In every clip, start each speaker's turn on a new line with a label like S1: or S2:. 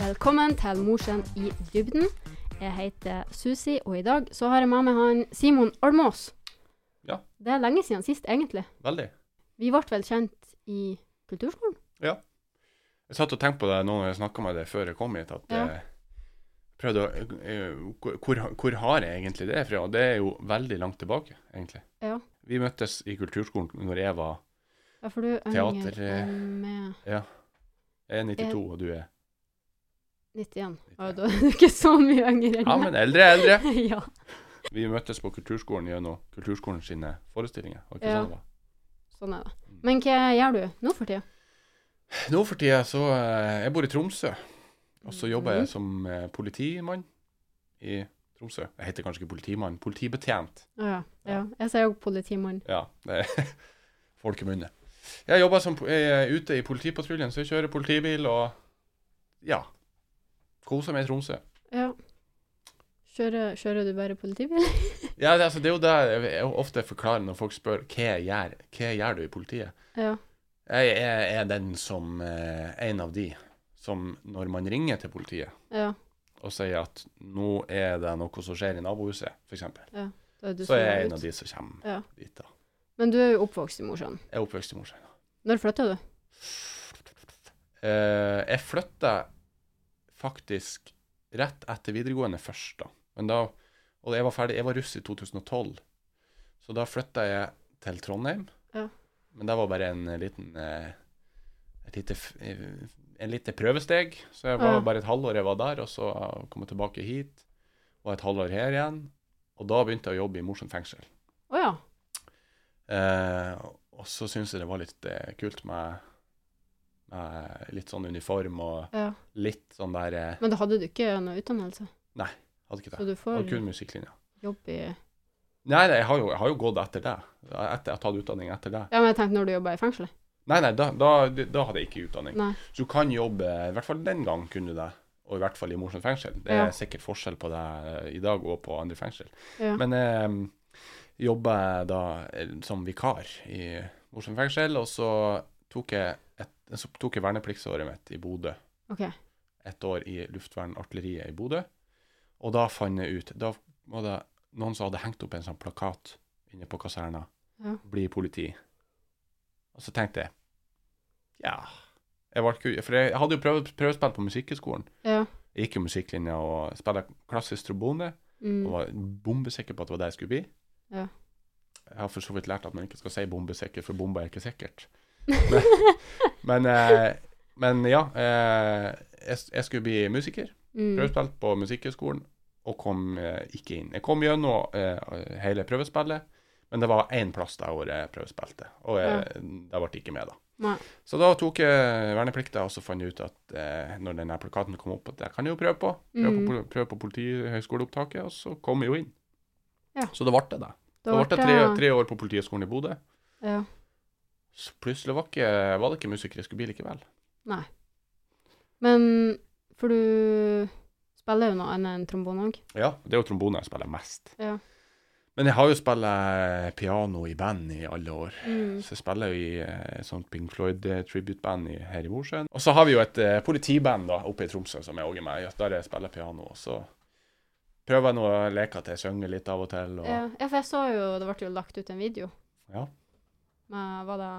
S1: Velkommen til Morsen i dybden. Jeg heter Susi, og i dag så har jeg med meg han Simon Almås.
S2: Ja.
S1: Det er lenge siden sist, egentlig.
S2: Veldig.
S1: Vi ble vel kjent i kulturskolen?
S2: Jeg satt og tenkte på det noen ganger jeg snakka med deg før jeg kom hit, at
S1: Ja.
S2: eh, prøvde å eh, hvor, hvor har jeg egentlig det fra? Og det er jo veldig langt tilbake, egentlig.
S1: Ja.
S2: Vi møttes i kulturskolen når jeg var
S1: Ja, for du er
S2: Teater,
S1: yngre
S2: eh,
S1: enn meg.
S2: jeg er 92,
S1: Jeg-
S2: og du er
S1: 91. Ja, da er du ikke så mye yngre enn
S2: Ja, men eldre er eldre!
S1: meg. ja.
S2: Vi møttes på kulturskolen gjennom kulturskolen sine forestillinger. Var ikke
S1: Ja.
S2: sånn det var? Mm.
S1: Sånn er det. Men hva gjør du nå for tida?
S2: Nå for tida så eh, Jeg bor i Tromsø, og så jobber
S1: Mhm.
S2: jeg som eh, politimann i Tromsø. Jeg heter kanskje ikke politimann, politibetjent.
S1: Å ja. ja. Jeg sier jo politimann.
S2: Ja, det er folk i munnen. Jeg jobber som, po- jeg er ute i politipatruljen, så jeg kjører politibil og ja, koser meg i Tromsø.
S1: Ja. Kjører, kjører du bare politibil?
S2: Ja, det, altså, det er jo det jeg- jeg ofte forklarer når folk spør hva jeg gjør, hva gjør du i politiet?
S1: ja.
S2: Jeg er, er den som, eh, en av de, som når man ringer til politiet
S1: Ja.
S2: og sier at nå er det noe som skjer i nabohuset, for eksempel,
S1: Da er du
S2: så er jeg
S1: ut.
S2: en av de som kommer
S1: Ja.
S2: dit da.
S1: Men du er jo oppvokst i Mosjøen.
S2: Jeg er oppvokst i Mosjøen.
S1: Når flytta du?
S2: Eh, jeg flytta faktisk rett etter videregående først, da. Men da og jeg var ferdig, jeg var russ i 2012, så da flytta jeg til Trondheim.
S1: Ja.
S2: Men det var bare en liten eh, et lite, f- eh, en lite prøvesteg. Så jeg var
S1: Ja.
S2: bare et halvår jeg var der, og så kom jeg tilbake hit. Var et halvår her igjen. Og da begynte jeg å jobbe i Mosjøen fengsel.
S1: Å ja.
S2: Eh, og så syns jeg det var litt eh, kult med, med litt sånn uniform og
S1: ja.
S2: litt sånn der eh,
S1: Men da hadde du ikke noe utdannelse,
S2: Hadde ikke
S1: så
S2: det.
S1: du
S2: Det
S1: får
S2: var kun musikklinja.
S1: jobb i
S2: Nei, nei jeg, har jo, jeg har jo gått etter det. Etter, jeg har tatt utdanning etter det.
S1: Ja, men jeg tenkte når du jobba i fengselet.
S2: Nei, nei, da, da, da hadde jeg ikke utdanning.
S1: Nei.
S2: Så du kan jobbe I hvert fall den gang kunne du det. Og i hvert fall i Mosjøen fengsel. Det
S1: Ja.
S2: er sikkert forskjell på det eh, i dag og på andre fengsel.
S1: Ja.
S2: Men eh, jobba jeg da eh, som vikar i Mosjøen fengsel, og så tok jeg, et, så tok jeg vernepliktsåret mitt i Bodø.
S1: OK.
S2: Et år i luftvernartilleriet i Bodø. Og da fant jeg ut Da var det noen som hadde hengt opp en sånn plakat inne på kaserna.
S1: Ja.
S2: Bli politi. Og så tenkte jeg Ja jeg var, ikke- For jeg hadde jo prøvd, prøvespill på musikkhøgskolen.
S1: Ja.
S2: Jeg gikk jo musikklinja og spilte klassisk trombone. Og
S1: Mm.
S2: var bombesikker på at det var det jeg skulle bli.
S1: Ja.
S2: Jeg har for så vidt lært at man ikke skal si bombesikker, for bomba er ikke sikkert. Men, men, eh, men ja, eh, jeg, jeg skulle bli musiker.
S1: Mm.
S2: Prøvespilt på Musikkhøgskolen, og kom eh, ikke inn. Jeg kom gjennom eh, hele prøvespillet, men det var én plass det året jeg prøvespilte, og jeg, det ble ikke med, da.
S1: Nei.
S2: Så da tok jeg verneplikta, og så fant jeg ut at eh, når denne plakaten kom opp, at jeg kan jo prøve på. Prøve
S1: Mm.
S2: på, pol- prøve på politihøyskoleopptaket, og så kom jeg jo inn.
S1: Ja.
S2: Så det ble det, da. Da ble jeg tre, tre år på Politihøgskolen i Bodø.
S1: Ja.
S2: Så plutselig var, ikke, var det ikke musiker jeg skulle bli likevel.
S1: Men For du spiller jo noe annet enn trombone òg.
S2: Ja, det er jo trombone jeg spiller mest.
S1: Ja.
S2: Men jeg har jo spilt piano i band i alle år.
S1: Mm.
S2: Så jeg spiller jo i eh, et sånt Pink Floyd-tribute-band i- her i Mosjøen. Og så har vi jo et eh, politiband da, oppe i Tromsø som jeg òg er med i, der jeg spiller piano. Og så prøver jeg nå å leke at jeg synger litt av og til. Og,
S1: Ja, ja, for jeg så jo Det ble jo lagt ut en video
S2: Ja.
S1: med Var det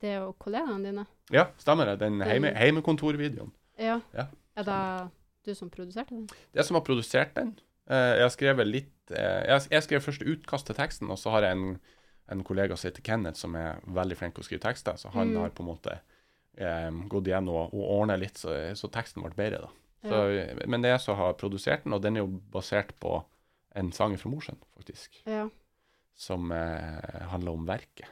S1: det og kollegaene dine?
S2: ja, stemmer det. Den heime,
S1: Den-
S2: heimekontorvideoen.
S1: Ja.
S2: Ja,
S1: Er det du som produserte den?
S2: Det som har produsert den eh, Jeg har skrevet litt eh, Jeg, jeg skrev først utkast til teksten, og så har jeg en, en kollega som heter Kenneth, som er veldig flink til å skrive tekster, så han
S1: Mm.
S2: har på en måte eh, gått igjennom og, og ordna litt, så, så teksten ble bedre, da. Så,
S1: Ja.
S2: Men det er jeg som har produsert den, og den er jo basert på en sang fra Mosjøen, faktisk,
S1: Ja.
S2: som eh, handler om verket.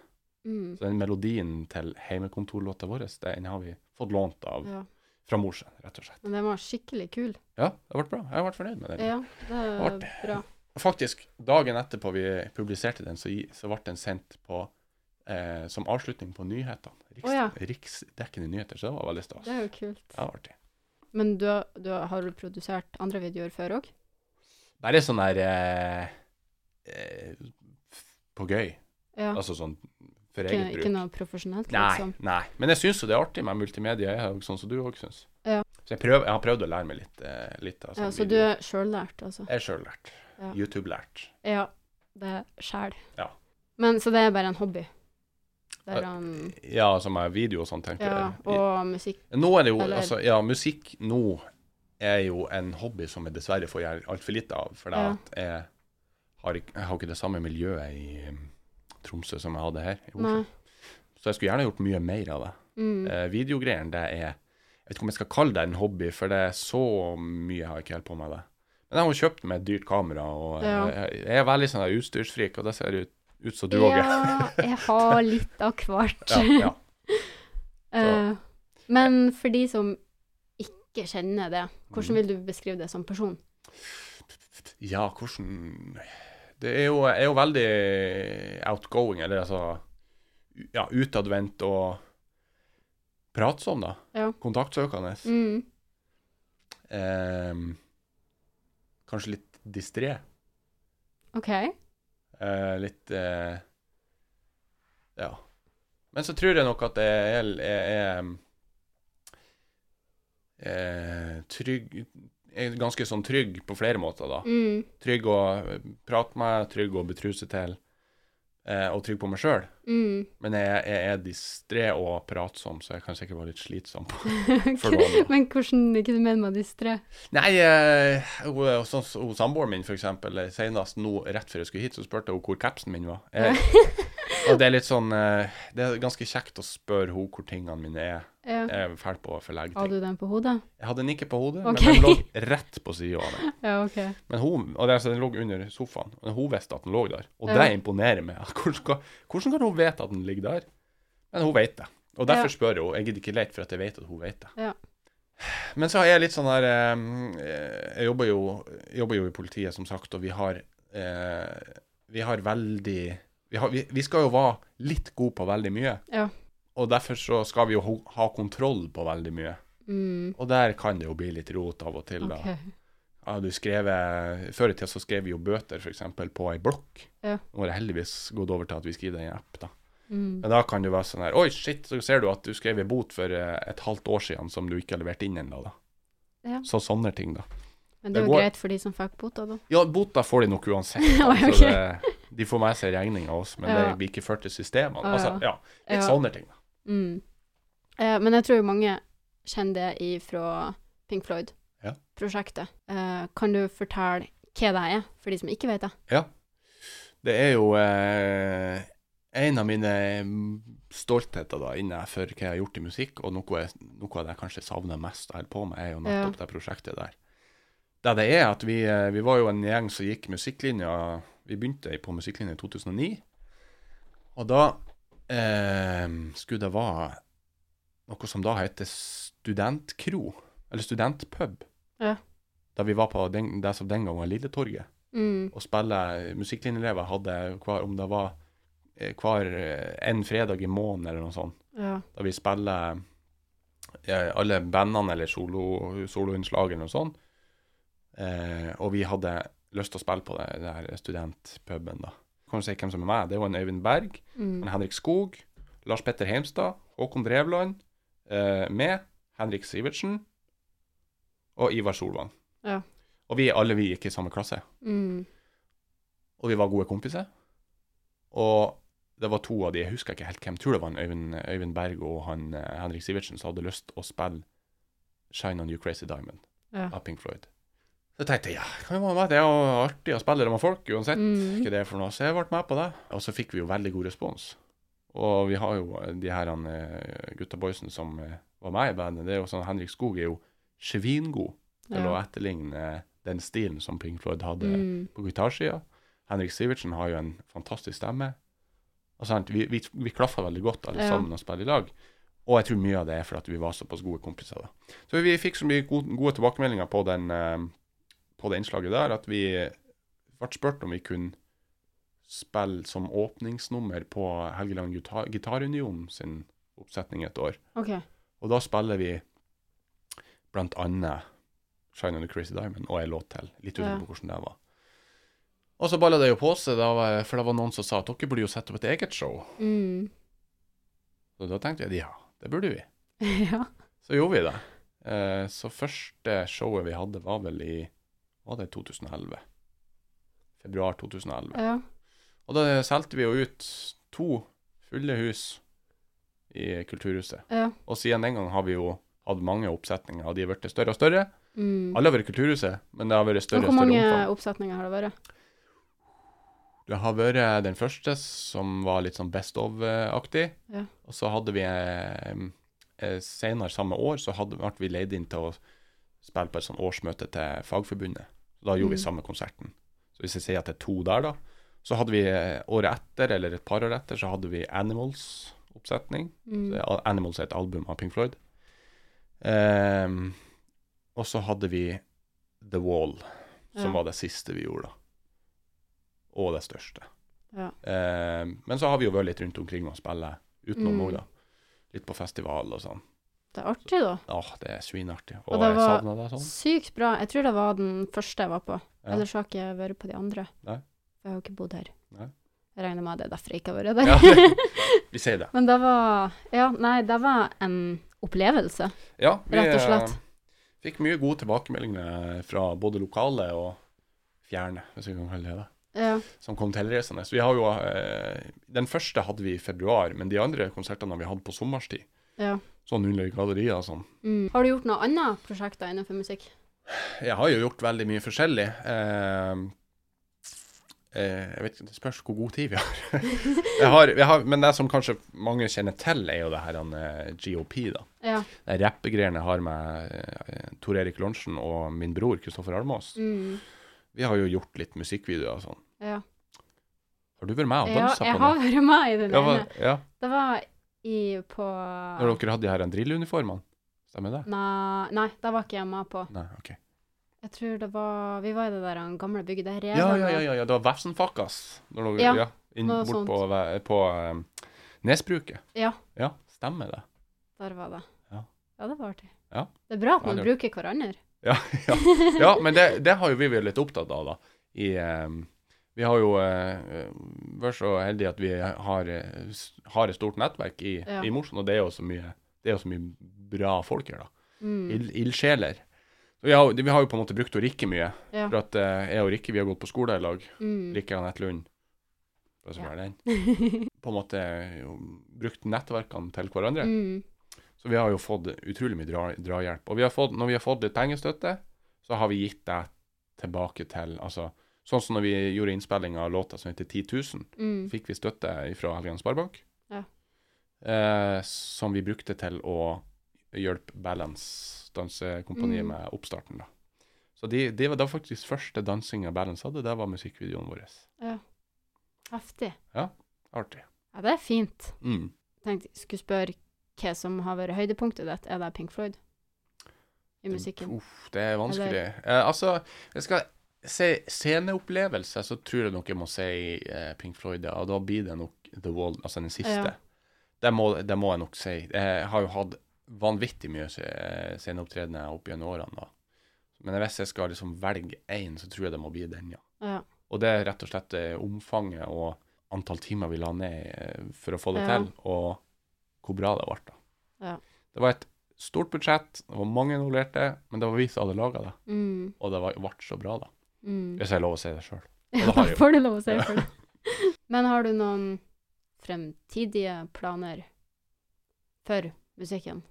S1: Mm.
S2: Så den melodien til heimekontorlåta vår, den har vi fått lånt av
S1: ja.
S2: fra Mosjøen, rett og slett.
S1: Men den var skikkelig kul.
S2: Ja, det ble bra. Jeg ble fornøyd med den.
S1: Ja, det er
S2: Artig.
S1: bra.
S2: Faktisk, dagen etterpå vi publiserte den, så, gi- så ble den sendt på eh, som avslutning på nyhetene. Riks,
S1: Å ja.
S2: Riksdekkende nyheter, så det var veldig stas.
S1: Det er jo kult.
S2: Det var artig.
S1: Men du, har- du har- har du produsert andre videoer før òg?
S2: Bare sånn der eh, eh, f- på gøy.
S1: Ja.
S2: Altså sånn for
S1: Ikke,
S2: eget bruk.
S1: ikke noe profesjonelt,
S2: nei,
S1: liksom?
S2: nei. Men jeg syns jo det er artig med multimedia, jeg, sånn som du òg syns.
S1: Ja.
S2: Så jeg, prøver, jeg har prøvd å lære meg litt. eh, litt altså,
S1: Ja, så du
S2: video.
S1: er sjøllært, altså?
S2: Jeg er sjøl lært.
S1: Ja.
S2: YouTube-lært.
S1: Ja, det er sjæl.
S2: Ja.
S1: Men så det er bare en hobby?
S2: Ja,
S1: Der han
S2: Ja, som er video og sånn, tenkte
S1: Ja,
S2: jeg.
S1: og musikk.
S2: Nå er det jo,
S1: Eller-
S2: altså, ja, musikk nå er jo en hobby som jeg dessverre får gjøre altfor lite av. For
S1: Ja.
S2: at jeg, har, ikke- jeg har ikke det samme miljøet i um, Tromsø som jeg hadde her. i Oslo.
S1: Nei.
S2: Så jeg skulle gjerne gjort mye mer av det.
S1: Mm.
S2: Eh, videogreiene, det er Jeg vet ikke om jeg skal kalle det en hobby, for det er så mye jeg har ikke holdt på med det. Men jeg har jo kjøpt meg et dyrt kamera, og eh,
S1: Ja.
S2: jeg, jeg er veldig sånn der utstyrsfrik, og det ser ut, ut som du òg er.
S1: Ja, jeg har litt av hvert.
S2: Ja, ja.
S1: Eh, men for de som ikke kjenner det, hvordan
S2: Mhm.
S1: vil du beskrive det som person?
S2: Ja, hvordan Det er jo, er jo veldig outgoing, eller altså Ja, utadvendt og pratsom, da.
S1: Ja.
S2: Kontaktsøkende.
S1: Mm.
S2: Ehm, kanskje litt distré.
S1: OK.
S2: Eh, litt eh, Ja. Men så tror jeg nok at jeg er, er, er eh, trygg er Ganske sånn trygg på flere måter, da.
S1: Mm.
S2: trygg å eh, prate med, trygg å betruse til, eh, og trygg på meg sjøl.
S1: Mm.
S2: Men jeg, jeg er distré og pratsom, så jeg kan sikkert være litt slitsom. på for noen.
S1: men hvordan Hva du mener med distré?
S2: Nei, eh, hun, hun- sånn som hun samboeren min, for eksempel, eh, senest nå rett før jeg skulle hit, så spurte hun hvor capsen min var. Eh, og det er litt sånn eh, Det er ganske kjekt å spørre hun hvor tingene mine er.
S1: Ja.
S2: Jeg er fæl på å forlegge
S1: Har
S2: ting.
S1: du den på hodet?
S2: Jeg hadde den ikke på hodet,
S1: Ok.
S2: men den lå rett på sida av meg.
S1: Ja, OK.
S2: Men hun, og det, altså, den lå under sofaen, og hun visste at den lå der. Og
S1: Ja.
S2: det imponerer meg. Hvordan, kan- hvordan kan hun vite at den ligger der? Men hun vet det. Og derfor
S1: Ja.
S2: spør jeg henne. Jeg gidder ikke lete for at jeg vet at hun vet det.
S1: Ja.
S2: Men så er jeg litt sånn der eh, Jeg jobber jo, jobber jo i politiet, som sagt, og vi har eh, Vi har veldig vi, har, vi, vi skal jo være litt gode på veldig mye.
S1: Ja.
S2: Og derfor så skal vi jo ho- ha kontroll på veldig mye.
S1: Mm.
S2: Og der kan det jo bli litt rot av og til, da.
S1: OK.
S2: Jeg hadde jo skrevet, eh, Før i tida så skrev vi jo bøter f.eks. på ei blokk.
S1: Ja.
S2: Nå har det heldigvis gått over til at vi skriver det i en app. da.
S1: Mm.
S2: Men da kan det være sånn her Oi, shit, så ser du at du skrev en bot for eh, et halvt år siden som du ikke har levert inn ennå. da.
S1: Ja.
S2: Så sånne ting, da.
S1: Men det er
S2: Det
S1: jo
S2: går-
S1: greit for de som fikk bota, da.
S2: Ja, bota får de nok uansett. Da,
S1: Oi,
S2: så det, de får med seg regninga av oss, men
S1: Ja.
S2: det blir ikke ført til systemene.
S1: Ja,
S2: Altså, ja, litt
S1: Ja.
S2: sånne ting. da.
S1: Mm. Eh, men jeg tror jo mange kjenner det ifra Pink
S2: Ja.
S1: Floyd-prosjektet. Eh, kan du fortelle hva det er, for de som ikke vet det?
S2: Det er jo eh, en av mine mm, stoltheter da, innenfor hva jeg har gjort i musikk, og noe, jeg, noe av det jeg kanskje savner mest å holde på med, er jo nettopp det prosjektet der. Det det er at vi, eh, vi var jo en gjeng som gikk musikklinja, vi begynte på musikklinja i 2009, og da eh, skulle det være noe som da heter studentkro, eller studentpub,
S1: Ja.
S2: da vi var på den, det som den gangen var Lilletorget
S1: Mm.
S2: å spille musikklinjeelever hadde hver, om det var eh, hver eh, en fredag i måneden eller noe sånt,
S1: Ja.
S2: da vi spiller eh, alle bandene eller solo- soloinnslag eller noe sånt. Eh, og vi hadde lyst til å spille på det, det her studentpuben, da. Kan du si hvem som er med? Det er jo en Øyvind Berg, en
S1: Mm.
S2: Henrik Skog, Lars Petter Heimstad, Håkon Drevland, eh, med Henrik Sivertsen og Ivar Solvang.
S1: Ja.
S2: Og vi alle vi gikk i samme klasse.
S1: Mm.
S2: Og vi var gode kompiser. Og det var to av de, jeg husker ikke helt hvem, tror det var en Øyvind, Øyvind Berg og han, eh, Henrik Sivertsen som hadde lyst å spille Shine On You Crazy Diamond
S1: Ja.
S2: av Pink Floyd. Så tenkte jeg ja, kan jo være med, det er jo artig å spille det med folk uansett
S1: Mm.
S2: hva det er for noe. Så jeg ble med på det. Og så fikk vi jo veldig god respons. Og vi har jo de her han, eh, gutta boysen som eh, var med i bandet. Det er jo sånn, Henrik Skog er jo svingod til å
S1: Ja.
S2: etterligne den stilen som Pink Floyd hadde
S1: Mm.
S2: på gitarsida. Henrik Sivertsen har jo en fantastisk stemme. Og sant, vi, vi, vi klaffa veldig godt alle
S1: Ja.
S2: sammen og spiller i lag. Og jeg tror mye av det er for at vi var såpass gode kompiser. da. Så vi fikk så mye gode, gode tilbakemeldinger på, den, eh, på det innslaget der at vi ble spurt om vi kunne spille som åpningsnummer på Helgeland Gitar Gitarunion sin oppsetning et år.
S1: OK.
S2: Og da spiller vi blant annet Shine on the Crazy Diamond og en låt til. Litt
S1: Ja.
S2: usikker på hvordan det var. Og så balla det jo på seg, da, var- for det var noen som sa at dere burde jo sette opp et eget show.
S1: Mm.
S2: Så da tenkte jeg ja, det burde vi.
S1: ja.
S2: Så gjorde vi det. Eh, så første showet vi hadde, var vel i var det 2011. Februar 2011.
S1: Ja.
S2: Og da solgte vi jo ut to fulle hus i Kulturhuset.
S1: Ja.
S2: Og siden den gang har vi jo hatt mange oppsetninger, og de har blitt større og større.
S1: Mm.
S2: Alle har vært i Kulturhuset, men det har vært
S1: Men
S2: større og
S1: hvor
S2: større
S1: mange
S2: omfang.
S1: oppsetninger har det vært?
S2: Det har vært den første, som var litt sånn best of-aktig.
S1: Ja.
S2: Og så hadde vi eh, eh, Senere samme år så hadde, ble vi leid inn til å spille på et sånn årsmøte til Fagforbundet. Da gjorde
S1: Mm.
S2: vi samme konserten. Så hvis jeg sier at det er to der, da, så hadde vi eh, året etter, eller et par år etter, så hadde vi Animals-oppsetning.
S1: Mm.
S2: Det er- Animals er et album av Pink Floyd. Ehm, og så hadde vi The Wall, som
S1: Ja.
S2: var det siste vi gjorde, da. Og det største.
S1: Ja.
S2: Ehm, men så har vi jo vært litt rundt omkring og spille utenom
S1: Mm.
S2: òg, da. Litt på festival og sånn.
S1: Det er artig, da.
S2: Åh, det er svinartig. Og,
S1: Og det
S2: jeg
S1: var-
S2: savner det sånn.
S1: Sykt bra. Jeg tror det var den første jeg var på.
S2: Ja.
S1: Ellers har ikke jeg vært på de andre.
S2: Nei.
S1: Jeg har jo ikke bodd her.
S2: Nei.
S1: Jeg regner med at det er derfor jeg ikke har vært
S2: Ja,
S1: der.
S2: det- vi sier det.
S1: Men det var Ja, nei, det var en opplevelse.
S2: Ja, vi
S1: Rett og slett.
S2: eh, fikk mye gode tilbakemeldinger fra både lokale og fjerne, hvis vi kan kalle det det.
S1: Ja.
S2: som kom tilreisende. Så vi har jo eh, Den første hadde vi i februar, men de andre konsertene har vi hatt på sommerstid.
S1: ja.
S2: Sånn under gallerier og sånn.
S1: Mm. Har du gjort noen andre prosjekter innenfor musikk?
S2: Jeg har jo gjort veldig mye forskjellig. Eh, eh, jeg vet ikke, Det spørs hvor god tid vi har. jeg har, jeg har men det som kanskje mange kjenner til, er jo det her eh, GOP, da.
S1: Ja.
S2: Det Rappegreiene jeg har med eh, Tor Erik Lorentzen og min bror Kristoffer Almås.
S1: Mm.
S2: Vi har jo gjort litt musikkvideoer og sånn.
S1: ja.
S2: Har du vært med og
S1: Ja,
S2: dansa
S1: jeg
S2: på
S1: har vært med i den
S2: Ja,
S1: ene.
S2: hva- ja,
S1: Det var i på
S2: når dere hadde de her drilluniformene. Stemmer
S1: Mm.
S2: det?
S1: Nei, nei, det var ikke jeg med på.
S2: Nei, ok.
S1: Jeg tror det var Vi var i det der han gamle bygget der. Reven,
S2: Ja, ja, ja,
S1: og-
S2: ja, ja. det var Vefsenfakkas. Når dere,
S1: Ja,
S2: ja, inn,
S1: noe
S2: bort
S1: sånt.
S2: på, ve- på eh, Nesbruket.
S1: Ja.
S2: Ja, stemmer det.
S1: Der var det.
S2: Ja.
S1: det var artig.
S2: Ja.
S1: Det er bra at man
S2: Veldig
S1: bruker hverandre.
S2: Ja, men det, det har jo vi vært litt opptatt av, da. I, eh, vi har jo eh, vært så heldige at vi har, eh, s- har et stort nettverk i,
S1: Ja.
S2: i Mosjøen, og det er jo så mye, det er jo så mye bra folk her, da.
S1: Mm.
S2: Ild- Ildsjeler. Så Vi har, jo- vi har jo på en måte brukt og Rikke mye.
S1: Ja.
S2: For at eh, jeg og Rikke vi har gått på skole i lag.
S1: Mm.
S2: Rikke Anette Lund. Bare så
S1: Ja.
S2: var det den. på en måte jo, brukt nettverkene til hverandre.
S1: Mm.
S2: Så vi har jo fått utrolig mye dra, drahjelp. Og vi har fått, når vi har fått litt pengestøtte, så har vi gitt det tilbake til altså, Sånn som når vi gjorde innspillinga av låta som heter 10 000,
S1: Mm.
S2: fikk vi støtte fra Helgeland Sparebank.
S1: Ja.
S2: Eh, som vi brukte til å hjelpe Balance dansekompaniet
S1: Mm.
S2: med oppstarten. Da. Så det de var da faktisk første dansinga Balance hadde, det var musikkvideoen vår.
S1: Heftig.
S2: Artig.
S1: Ja, det er fint.
S2: Mm.
S1: Tenkte jeg skulle spørre hva som har vært høydepunktet ditt. Er det Pink Floyd? I musikken?
S2: Uff, det er vanskelig. Eh, altså, jeg skal se sceneopplevelse, så tror jeg nok jeg må si eh, Pink Floyd, ja, og da blir det nok The Wall, altså den siste.
S1: Ja.
S2: Det, må, det må jeg nok si. Jeg har jo hatt vanvittig mye se- eh, sceneopptredener opp gjennom årene, da. Men hvis jeg skal liksom velge én, så tror jeg det må bli den, ja.
S1: Ja.
S2: Og det er rett og slett eh, omfanget og antall timer vi la ned eh, for å få det
S1: Ja.
S2: til, og hvor bra det ble. da.
S1: Ja.
S2: Det var et stort budsjett, det var mange involverte, men det var vi som hadde laga det,
S1: Mm.
S2: og det var- ble så bra, da.
S1: Mm.
S2: Hvis jeg har lov å si det sjøl.
S1: Ja,
S2: det har
S1: da
S2: jeg jo.
S1: får du lov å si for det. Men har du noen fremtidige planer for musikken?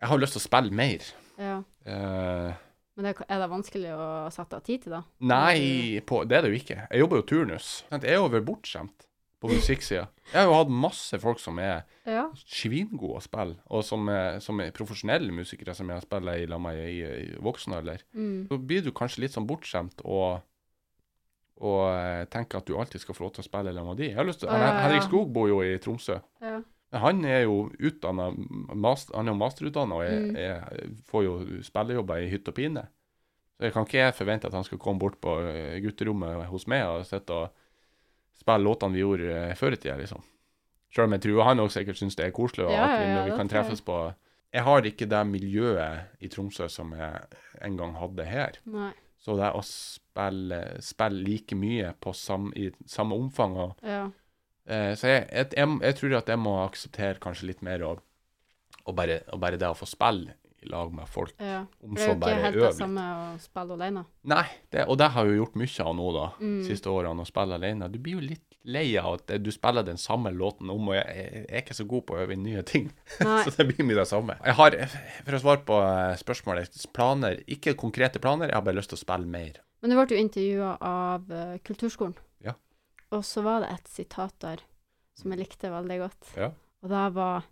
S2: Jeg har lyst til å spille mer.
S1: Ja.
S2: Eh,
S1: Men det, er det vanskelig å sette av tid til, da?
S2: nei, på, det er det jo ikke. Jeg jobber jo turnus. Sant, Jeg er jo vært bortskjemt på musikksida. Jeg har jo hatt masse folk som er
S1: Ja.
S2: svingode å spille, og som er, som er profesjonelle musikere som jeg spiller i lag med i, i voksen alder.
S1: Mm.
S2: så blir du kanskje litt sånn bortskjemt og, og eh, tenker at du alltid skal få lov til å spille sammen med de. Jeg har lyst til,
S1: Å, ja, ja, ja.
S2: Henrik Skog bor jo i Tromsø.
S1: ja.
S2: Men han er jo utdanna, han er jo masterutdanna og jeg,
S1: Mm.
S2: jeg får jo spillejobber i hytt og pine. Så jeg kan ikke forvente at han skal komme bort på eh, gutterommet hos meg og sitte og spille låtene vi gjorde eh, før i tida, liksom. Sjøl om jeg tror han òg sikkert syns det er koselig, og
S1: Ja,
S2: at vi,
S1: ja, ja,
S2: når vi
S1: det
S2: kan
S1: tror jeg.
S2: treffes på Jeg har ikke det miljøet i Tromsø som jeg en gang hadde her.
S1: Nei.
S2: Så det å spille, spille like mye på sam, i samme omfang og,
S1: Ja.
S2: eh, Så jeg, jeg, jeg, jeg tror at jeg må akseptere kanskje litt mer å, å, bare, å bare det å få spille i lag med folk,
S1: Ja.
S2: om
S1: For det er
S2: så
S1: jo ikke
S2: bare
S1: helt det
S2: øve litt.
S1: samme å spille alene.
S2: Nei, det, og det har jeg jo gjort mye av nå, da,
S1: Mm.
S2: siste årene, å spille alene. Du blir jo litt lei av at du spiller den samme låten om, og jeg, jeg er ikke så god på å øve inn nye ting.
S1: Nei.
S2: Så det blir mye det samme. Jeg har, for å svare på eh, spørsmålet, planer, ikke konkrete planer, jeg har bare lyst til å spille mer.
S1: Men du ble jo intervjua av eh, Kulturskolen.
S2: Ja.
S1: Og så var det et sitat der som jeg likte veldig godt.
S2: Ja.
S1: Og det var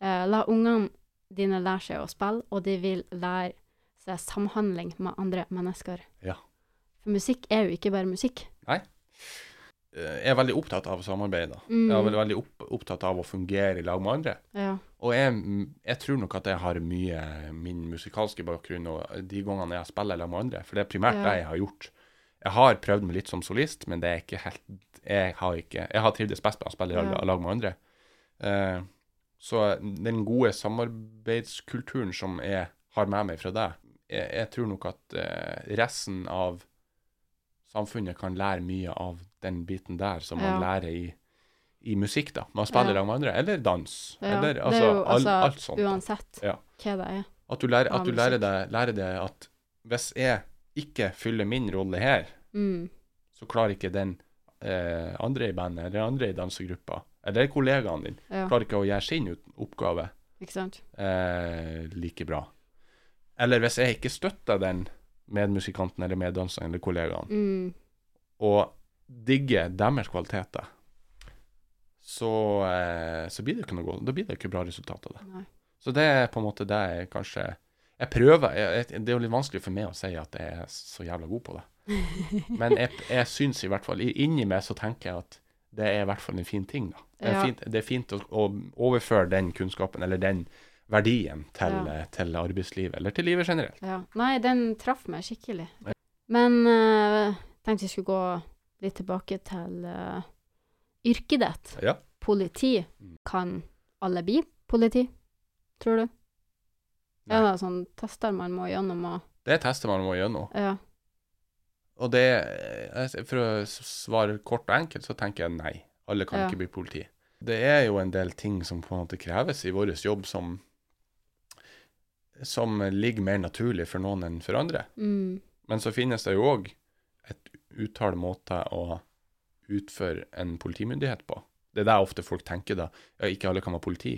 S1: eh, La ungene dine lære seg å spille, og de vil lære seg samhandling med andre mennesker.
S2: Ja.
S1: For musikk er jo ikke bare musikk.
S2: Eh, Jeg er veldig opptatt av å samarbeide.
S1: Mm.
S2: Jeg er veldig- veldig opp, opptatt av å fungere i lag med andre.
S1: Ja.
S2: Og jeg, jeg tror nok at jeg har mye min musikalske bakgrunn og de gangene jeg spiller sammen med andre, for det er primært
S1: Ja.
S2: det jeg har gjort. Jeg har prøvd meg litt som solist, men det er ikke helt Jeg har, ikke, jeg har trivdes best med å spille i
S1: Ja.
S2: lag med andre. Eh, så den gode samarbeidskulturen som jeg har med meg fra deg, jeg, jeg tror nok at eh, resten av samfunnet kan lære mye av den biten der som man lærer i, i musikk, da. Man spiller
S1: Ja.
S2: i lag med andre, eller dans.
S1: ja.
S2: Eller,
S1: det
S2: altså,
S1: er jo
S2: all,
S1: altså
S2: alt sånt.
S1: uansett
S2: Ja.
S1: hva det er.
S2: At du, lærer,
S1: av
S2: at du lærer, deg, lærer deg at hvis jeg ikke fyller min rolle her,
S1: Mm.
S2: så klarer ikke den eh, andre i bandet, eller andre i dansegruppa, eller kollegaen din,
S1: Ja,
S2: klarer ikke å gjøre sin ut- oppgave
S1: ikke sant.
S2: eh, like bra. Eller hvis jeg ikke støtter den medmusikanten eller meddanseren eller kollegaen,
S1: Mm.
S2: og digger deres kvaliteter, så, eh, så blir det ikke noe godt. Da blir det ikke bra resultat av det.
S1: Nei.
S2: Så det er på en måte det jeg kanskje Jeg prøver jeg, jeg, Det er jo litt vanskelig for meg å si at jeg er så jævla god på det. Men jeg, jeg syns i hvert fall i- Inni meg så tenker jeg at det er i hvert fall en fin ting, da. Det er,
S1: Ja.
S2: fint, det er fint å, å overføre den kunnskapen, eller den verdien, til,
S1: Ja.
S2: eh, til arbeidslivet, eller til livet generelt.
S1: Ja. Nei, den traff meg skikkelig.
S2: Ja.
S1: Men uh, tenkte vi skulle gå litt tilbake til eh, yrket ditt.
S2: Ja.
S1: Politi.
S2: Mm.
S1: Kan alle bli politi, tror du?
S2: Nei.
S1: Er det sånn tester man må gjennom og
S2: Det tester man må gjennom.
S1: Ja.
S2: Og det eh, For å s- svare kort og enkelt, så tenker jeg nei. Alle kan
S1: Ja.
S2: ikke bli politi. Det er jo en del ting som på en måte kreves i vår jobb som som ligger mer naturlig for noen enn for andre.
S1: Mm.
S2: Men så finnes det jo òg et utall måter å utføre en politimyndighet på. Det er der ofte folk tenker da. Ja, ikke alle kan være politi.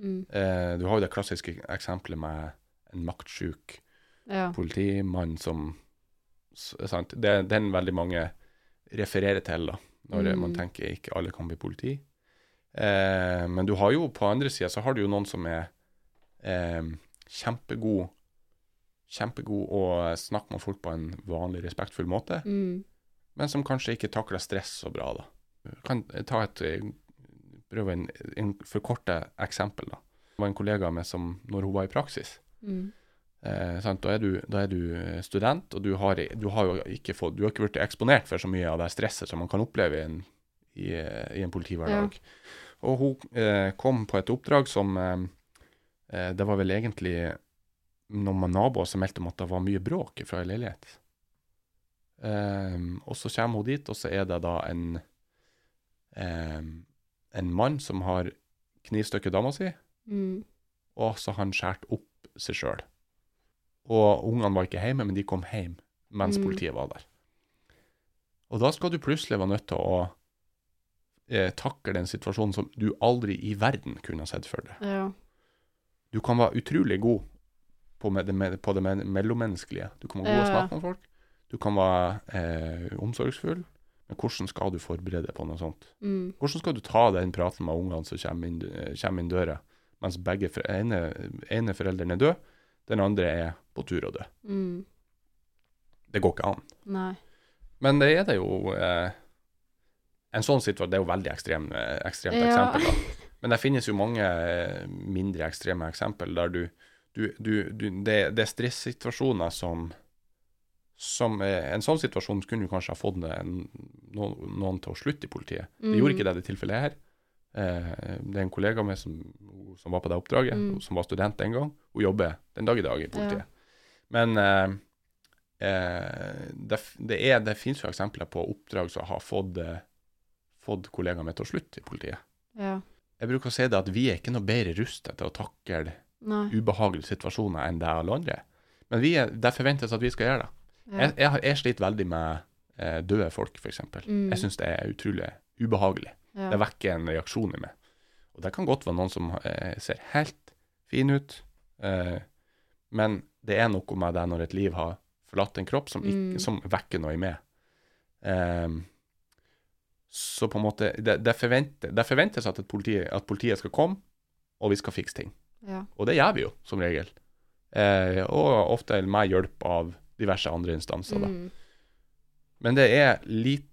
S1: Mm.
S2: Eh, du har jo det klassiske eksempelet med en maktsjuk
S1: Ja.
S2: politimann som s- sant? Det, Den veldig mange refererer til da, når
S1: Mm.
S2: man tenker ikke alle kan bli politi. Eh, men du har jo på andre sida så har du jo noen som er eh, kjempegod kjempegod å snakke med folk på en vanlig, respektfull måte,
S1: Mm.
S2: men som kanskje ikke takler stress så bra. da. Kan ta et eh, prøve en, en forkorte eksempel. da. Det var en kollega av meg som, når hun var i praksis,
S1: Mm.
S2: Eh, sant? Da, er du, da er du eh, student, og du har, i- du har jo ikke, fått, du har ikke blitt eksponert for så mye av det stresset som man kan oppleve i en, i, eh, i en politihverdag. Og hun eh, kom på et oppdrag som eh, eh, Det var vel egentlig noen naboer som meldte om at det var mye bråk fra ei leilighet. Eh, og så kommer hun dit, og så er det da en eh, en mann som har knivstukket dama si,
S1: Mm.
S2: og så har han skåret opp seg sjøl. Og ungene var ikke hjemme, men de kom hjem mens
S1: Mm.
S2: politiet var der. Og da skal du plutselig være nødt til å eh, takle den situasjonen som du aldri i verden kunne ha sett for deg.
S1: Ja.
S2: Du kan være utrolig god på, med, det med, på det med, mellommenneskelige. Du kan være god
S1: Ja,
S2: å
S1: ja.
S2: snakke med folk. Du kan være eh, omsorgsfull. Men hvordan skal du forberede deg på noe sånt?
S1: Mm.
S2: Hvordan skal du ta den praten med ungene som kommer inn, eh, kommer inn døra, mens begge for, ene, ene forelderen er død, den andre er på tur å dø?
S1: Mm.
S2: Det går ikke an.
S1: Nei.
S2: Men det er det jo eh, En sånn situasjon Det er jo veldig ekstrem, eh, ekstremt
S1: Ja.
S2: eksempel, da. Men det finnes jo mange eh, mindre ekstreme eksempel der du, du, du, du det, det er stressituasjoner som som eh, En sånn situasjon kunne jo kanskje ha fått det en- noen, noen til å slutte i politiet. Det
S1: Mm.
S2: gjorde ikke det i det tilfellet her. Eh, det er en kollega av meg som, som var på det oppdraget,
S1: Mm.
S2: som var student den gang. Hun jobber den dag i dag i politiet. Men eh, eh, det, f- det, er, det finnes jo eksempler på oppdrag som har fått, eh, fått kollegaen min til å slutte i politiet.
S1: Mm, Ja.
S2: Jeg bruker å si det at vi er ikke noe bedre rustet til å takle
S1: Nei.
S2: ubehagelige situasjoner enn deg alle andre. Men vi er, det forventes at vi skal gjøre det.
S1: Ja.
S2: Jeg, jeg, har- jeg sliter veldig med eh, døde folk, f.eks. eksempel.
S1: Mm.
S2: Jeg syns det er utrolig ubehagelig.
S1: Ja.
S2: Det vekker en reaksjon i meg. Og det kan godt være noen som eh, ser helt fin ut, eh, men det er noe med det når et liv har forlatt en kropp, som, ikke,
S1: Mm.
S2: som vekker noe i meg. Ehm, så på en måte Det, det, forventer, det forventes at, et politi, at politiet skal komme, og vi skal fikse ting.
S1: Ja.
S2: Og det gjør vi jo, som regel. Eh, og ofte med hjelp av diverse andre instanser. da.
S1: Mm.
S2: Men det er lite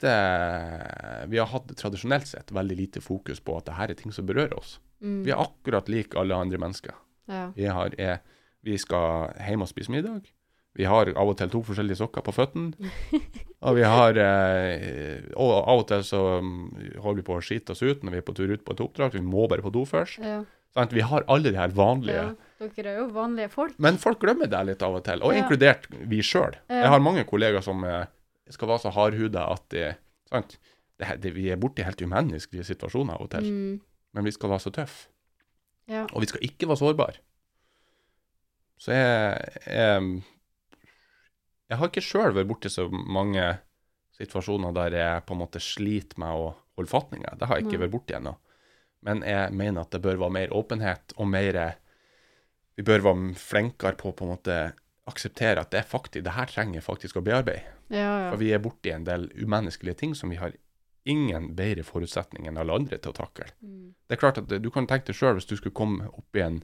S2: Vi har hatt tradisjonelt sett veldig lite fokus på at det her er ting som berører oss.
S1: Mm.
S2: Vi er akkurat lik alle andre mennesker.
S1: Ja.
S2: Vi, har, er, vi skal hjem og spise middag. Vi har av og til to forskjellige sokker på føttene. Og vi har eh, Og av og til så mm, holder vi på å skite oss ut når vi er på tur ut på et oppdrag. Vi må bare på do først.
S1: Ja.
S2: Sant? Vi har alle de her vanlige
S1: ja. Dere er jo vanlige folk.
S2: Men folk glemmer det litt av og til, og
S1: Ja.
S2: inkludert vi sjøl.
S1: Ja.
S2: Jeg har mange kollegaer som eh, skal være så hardhuda at de sant? Det, her- det, Vi er borti helt umenneskelige situasjoner av og til,
S1: Mm.
S2: men vi skal være så tøffe.
S1: Ja.
S2: Og vi skal ikke være sårbare. Så jeg Jeg, jeg har ikke sjøl vært borti så mange situasjoner der jeg på en måte sliter med å holde fatninga. Det har jeg ikke
S1: Nei.
S2: vært borti ennå. Men jeg mener at det bør være mer åpenhet og mer Vi bør være flinkere på å på en måte akseptere at det er faktisk, det her trenger jeg faktisk å bearbeide.
S1: Ja, ja.
S2: For vi er borti en del umenneskelige ting som vi har ingen bedre forutsetning enn alle andre til å takle.
S1: Mm.
S2: Det er klart at du kan tenke deg sjøl hvis du skulle komme opp i en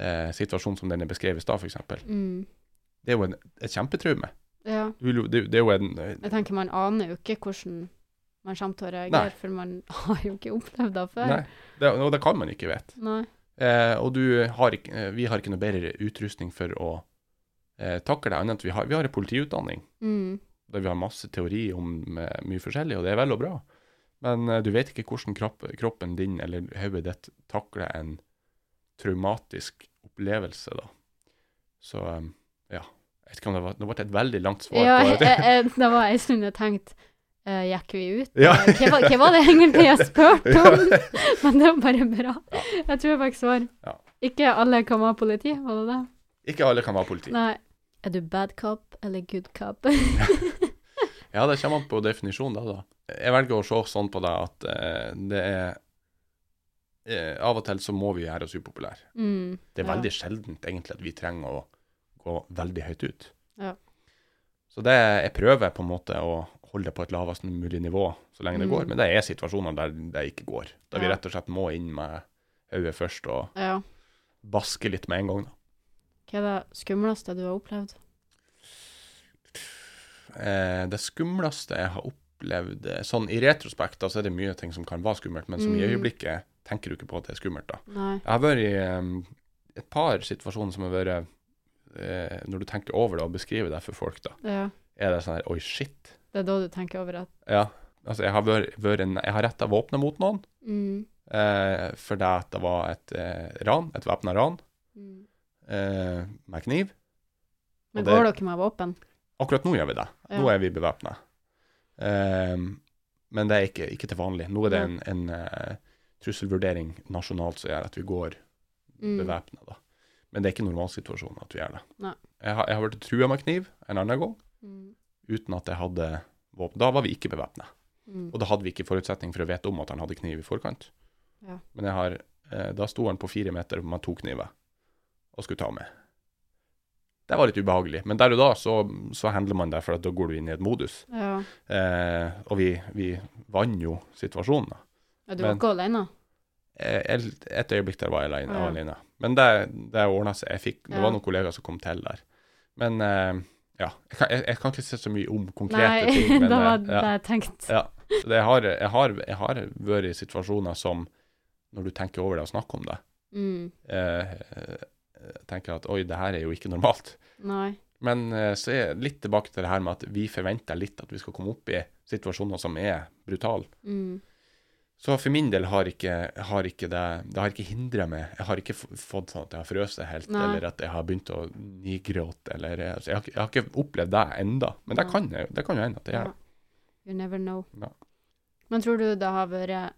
S2: eh, situasjon som den er beskrevet i stad, f.eks.
S1: Mm.
S2: Det er jo en, et kjempetraume.
S1: Ja.
S2: Du vil jo- Det, det er jo en eh,
S1: Jeg tenker man aner jo ikke hvordan man kommer til å reagere,
S2: Nei.
S1: for man har jo ikke opplevd det før.
S2: Nei. Det, og det kan man ikke vite.
S1: Nei.
S2: Eh, og du har ikke, eh, vi har ikke noe bedre utrustning for å eh, takle det, annet enn at vi har, vi har en politiutdanning
S1: Mm.
S2: der vi har masse teori om eh, mye forskjellig, og det er vel og bra. Men eh, du vet ikke hvordan kropp, kroppen din eller hodet ditt takler en traumatisk opplevelse, da. Så eh, ja. Jeg vet ikke om det var Nå ble det et veldig langt svar
S1: Ja,
S2: på
S1: jeg,
S2: det.
S1: jeg, det var en stund jeg tenkte eh, Gikk vi ut?
S2: Ja.
S1: Eh, Hva, var- hva var det egentlig jeg spurte om? Men det var bare bra. Jeg tror jeg fikk svar.
S2: Ja.
S1: Ikke alle kan være politi, var det det?
S2: Ikke alle kan være politi.
S1: Nei. Er du bad cop eller good cop?
S2: Ja, det kommer an på definisjonen, da, da. Jeg velger å se sånn på det at eh, det er eh, Av og til så må vi gjøre oss upopulære.
S1: mm.
S2: Det er
S1: Ja.
S2: veldig sjeldent egentlig at vi trenger å gå veldig høyt ut.
S1: Ja.
S2: Så det jeg prøver på en måte å holde det på et lavest mulig nivå så lenge det
S1: Mm.
S2: går, men det er situasjoner der det ikke går. Da vi
S1: Ja.
S2: rett og slett må inn med hodet først og
S1: Ja.
S2: baske litt med en gang. da.
S1: Hva er det skumleste du har opplevd?
S2: Eh, det skumleste jeg har opplevd eh, sånn i retrospekt, da så er det mye ting som kan være skummelt, men som i
S1: Mm.
S2: øyeblikket tenker du ikke på at det er skummelt. da.
S1: Nei.
S2: Jeg har vært i em, et par situasjoner som har vært eh, Når du tenker over det og beskriver det for folk, da,
S1: Ja.
S2: er det sånn her Oi, shit.
S1: Det er da du tenker over at
S2: Ja. Altså, jeg har, vært, vært en, jeg har retta våpenet mot noen
S1: mm.
S2: eh, fordi at det var et eh, ran, et væpna ran,
S1: Mm.
S2: eh, med kniv.
S1: Men
S2: Og det-
S1: går dere med våpen?
S2: Akkurat nå gjør vi det. Nå
S1: Ja.
S2: er vi bevæpna. men det er ikke, ikke til vanlig. Nå er det en, en eh, trusselvurdering nasjonalt som gjør at vi går
S1: Mm.
S2: bevæpna, da. Men det er ikke normalsituasjonen at vi gjør det.
S1: Nei.
S2: Jeg har, jeg har vært trua med kniv en annen gang,
S1: Mm.
S2: uten at jeg hadde våpen. Da var vi ikke bevæpna,
S1: Mm.
S2: og da hadde vi ikke forutsetning for å vite om at han hadde kniv i forkant.
S1: Ja.
S2: Men jeg har, eh, da sto han på fire meter med to kniver, og skulle ta med. Det var litt ubehagelig, men der og da så, så handler man det, for at da går du inn i et modus.
S1: Ja.
S2: Eh, og vi, vi vant jo situasjonen, da.
S1: ja. Du var
S2: Men-
S1: ikke alene?
S2: Eh, el- et øyeblikk der var jeg alene.
S1: Ja.
S2: alene. Men det, det ordna seg. Jeg fikk, det
S1: Ja.
S2: var noen kollegaer som kom til der. Men eh, ja, jeg kan, jeg, jeg kan ikke si så mye om konkrete
S1: Nei,
S2: ting.
S1: det
S2: Men
S1: var
S2: eh,
S1: det jeg tenkte.
S2: ja, ja. Så det har, jeg, har, jeg har vært i situasjoner som, når du tenker over det og snakker om det,
S1: Mm.
S2: eh, eh, tenker at oi, det her er jo ikke normalt.
S1: Nei.
S2: Men eh, så er jeg litt tilbake til det her med at vi forventer litt at vi skal komme opp i situasjoner som er brutale.
S1: Mm.
S2: Så for min del har ikke, har ikke det Det har ikke hindra meg. Jeg har ikke f- fått sånn at jeg har frøst helt,
S1: Nei.
S2: eller at jeg har begynt å nigråte, eller altså, jeg, har, ikke- jeg har ikke opplevd det enda. Men det
S1: Nei.
S2: kan, jeg- det kan jo hende at jeg
S1: Ja.
S2: gjør det.
S1: You never know.
S2: Ja.
S1: Men tror du det har vært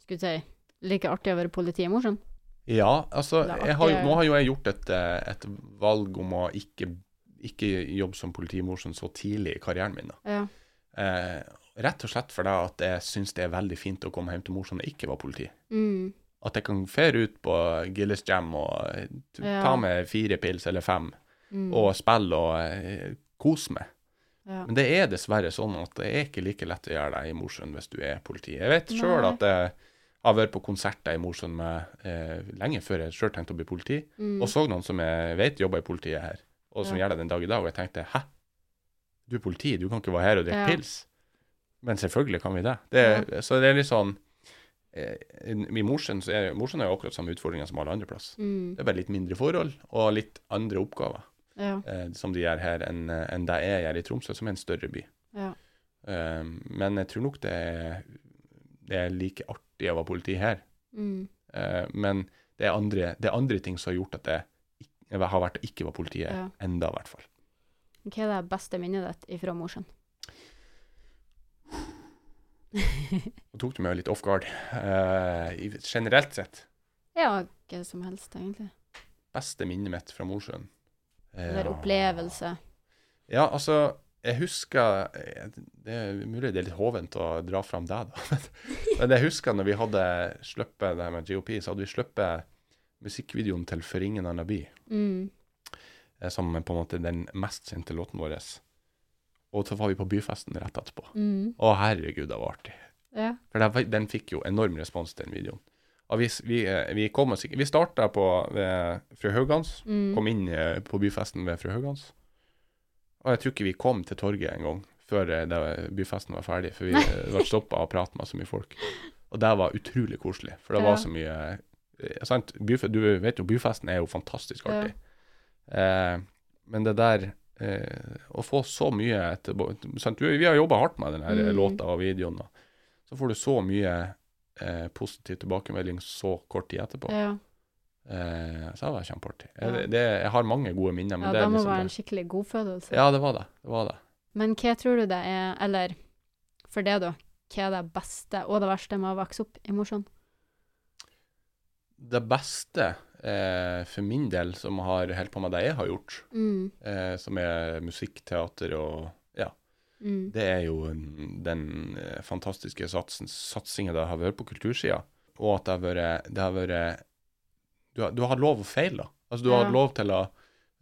S1: skulle jeg si, like artig å være politi i Mosjøen?
S2: Ja, altså
S1: Det er
S2: jeg har, jo-
S1: artig.
S2: Nå har jo jeg gjort et, eh, et valg om å ikke, ikke jobbe som politimorsom så tidlig i karrieren min. da.
S1: Ja.
S2: Eh, rett og slett fordi at jeg syns det er veldig fint å komme hjem til mor som jeg ikke var politi.
S1: Mm.
S2: At jeg kan fære ut på Gilles Jam og eh, t-
S1: Ja.
S2: ta med fire pils eller fem,
S1: Mm.
S2: og spille og eh, kose meg.
S1: ja.
S2: Men det er dessverre sånn at det er ikke like lett å gjøre det i Mosjøen hvis du er politi. Jeg vet
S1: Nei.
S2: sjøl at eh, jeg har vært på konserter i Mosjøen med eh, lenge før jeg sjøl tenkte å bli politi,
S1: Mm.
S2: og så noen som jeg vet jobber i politiet her, og som
S1: Ja.
S2: gjør det den dag i dag, og jeg tenkte hæ, du er politi, du kan ikke være her og
S1: Ja.
S2: drikke pils. Men selvfølgelig kan vi det. det er- Så det er litt sånn eh, I Mosjøen så er Mosjøen er jo akkurat samme utfordringer som alle andre plass.
S1: Mm.
S2: Det er bare litt mindre forhold og litt andre oppgaver
S1: Ja.
S2: eh, som de gjør her, enn enn det jeg gjør i Tromsø, som er en større by.
S1: Ja.
S2: Eh, men jeg tror nok det er, det er like artig å være politi her.
S1: Mm.
S2: Eh, men det er, andre, det er andre ting som har gjort at jeg, ikk- jeg har vært å ikke være politi her,
S1: Ja.
S2: enda i hvert fall.
S1: Hva er det beste minnet ditt ifra Mosjøen?
S2: Nå tok du meg jo litt off guard. Eh, i- generelt sett,
S1: Ja, hva som helst, egentlig.
S2: beste minnet mitt fra Mosjøen.
S1: Eller
S2: Ja.
S1: opplevelse.
S2: Ja, altså, jeg husker eh, Det er mulig det er litt hovent å dra fram deg, da. Men jeg husker når vi hadde sluppet det her med GOP, så hadde vi sluppet musikkvideoen til 'For ingen annen by',
S1: Mm.
S2: eh, som er på en måte den mest kjente låten vår. Og så var vi på byfesten rett etterpå.
S1: Mm.
S2: Å, herregud, det var artig.
S1: Ja.
S2: For det, var- den fikk jo enorm respons, den videoen. Og vi, s- vi, eh, vi, kom oss ikke- vi starta på eh, ved Fru Haugans,
S1: Mm.
S2: kom inn eh, på byfesten ved Fru Haugans. Og jeg tror ikke vi kom til torget en gang før eh, det, byfesten var ferdig, for vi eh, ble stoppa og prata med så mye folk. Og det var utrolig koselig, for det
S1: Ja.
S2: var så mye eh, sant? Byfe, Du vet jo, byfesten er jo fantastisk
S1: Ja.
S2: artig. Eh, men det der eh, Å få så mye etterpå sant? Du, Vi har jobba hardt med den her eh,
S1: Mm.
S2: låta og videoen. og Så får du så mye eh, positiv tilbakemelding så kort tid etterpå.
S1: Ja.
S2: Eh, så det var kjempeartig.
S1: Ja.
S2: Jeg, det, jeg har mange gode minner, men
S1: ja,
S2: det
S1: det
S2: er
S1: må
S2: liksom
S1: være en
S2: det.
S1: skikkelig godfølelse.
S2: Ja, det var det. det, var det.
S1: Men hva tror du det er, eller for det da, hva er det beste og det verste med å vokse opp i Mosjøen?
S2: Det beste eh, for min del som har holdt på med det jeg har gjort,
S1: Mm.
S2: eh, som er musikk, teater og ja,
S1: Mm.
S2: det er jo en- den eh, fantastiske satsen, satsinga det har vært på kultursida, og at det har vært, det har vært du, har, du har hatt lov å feile, da. Altså, du har
S1: Ja.
S2: hatt lov til å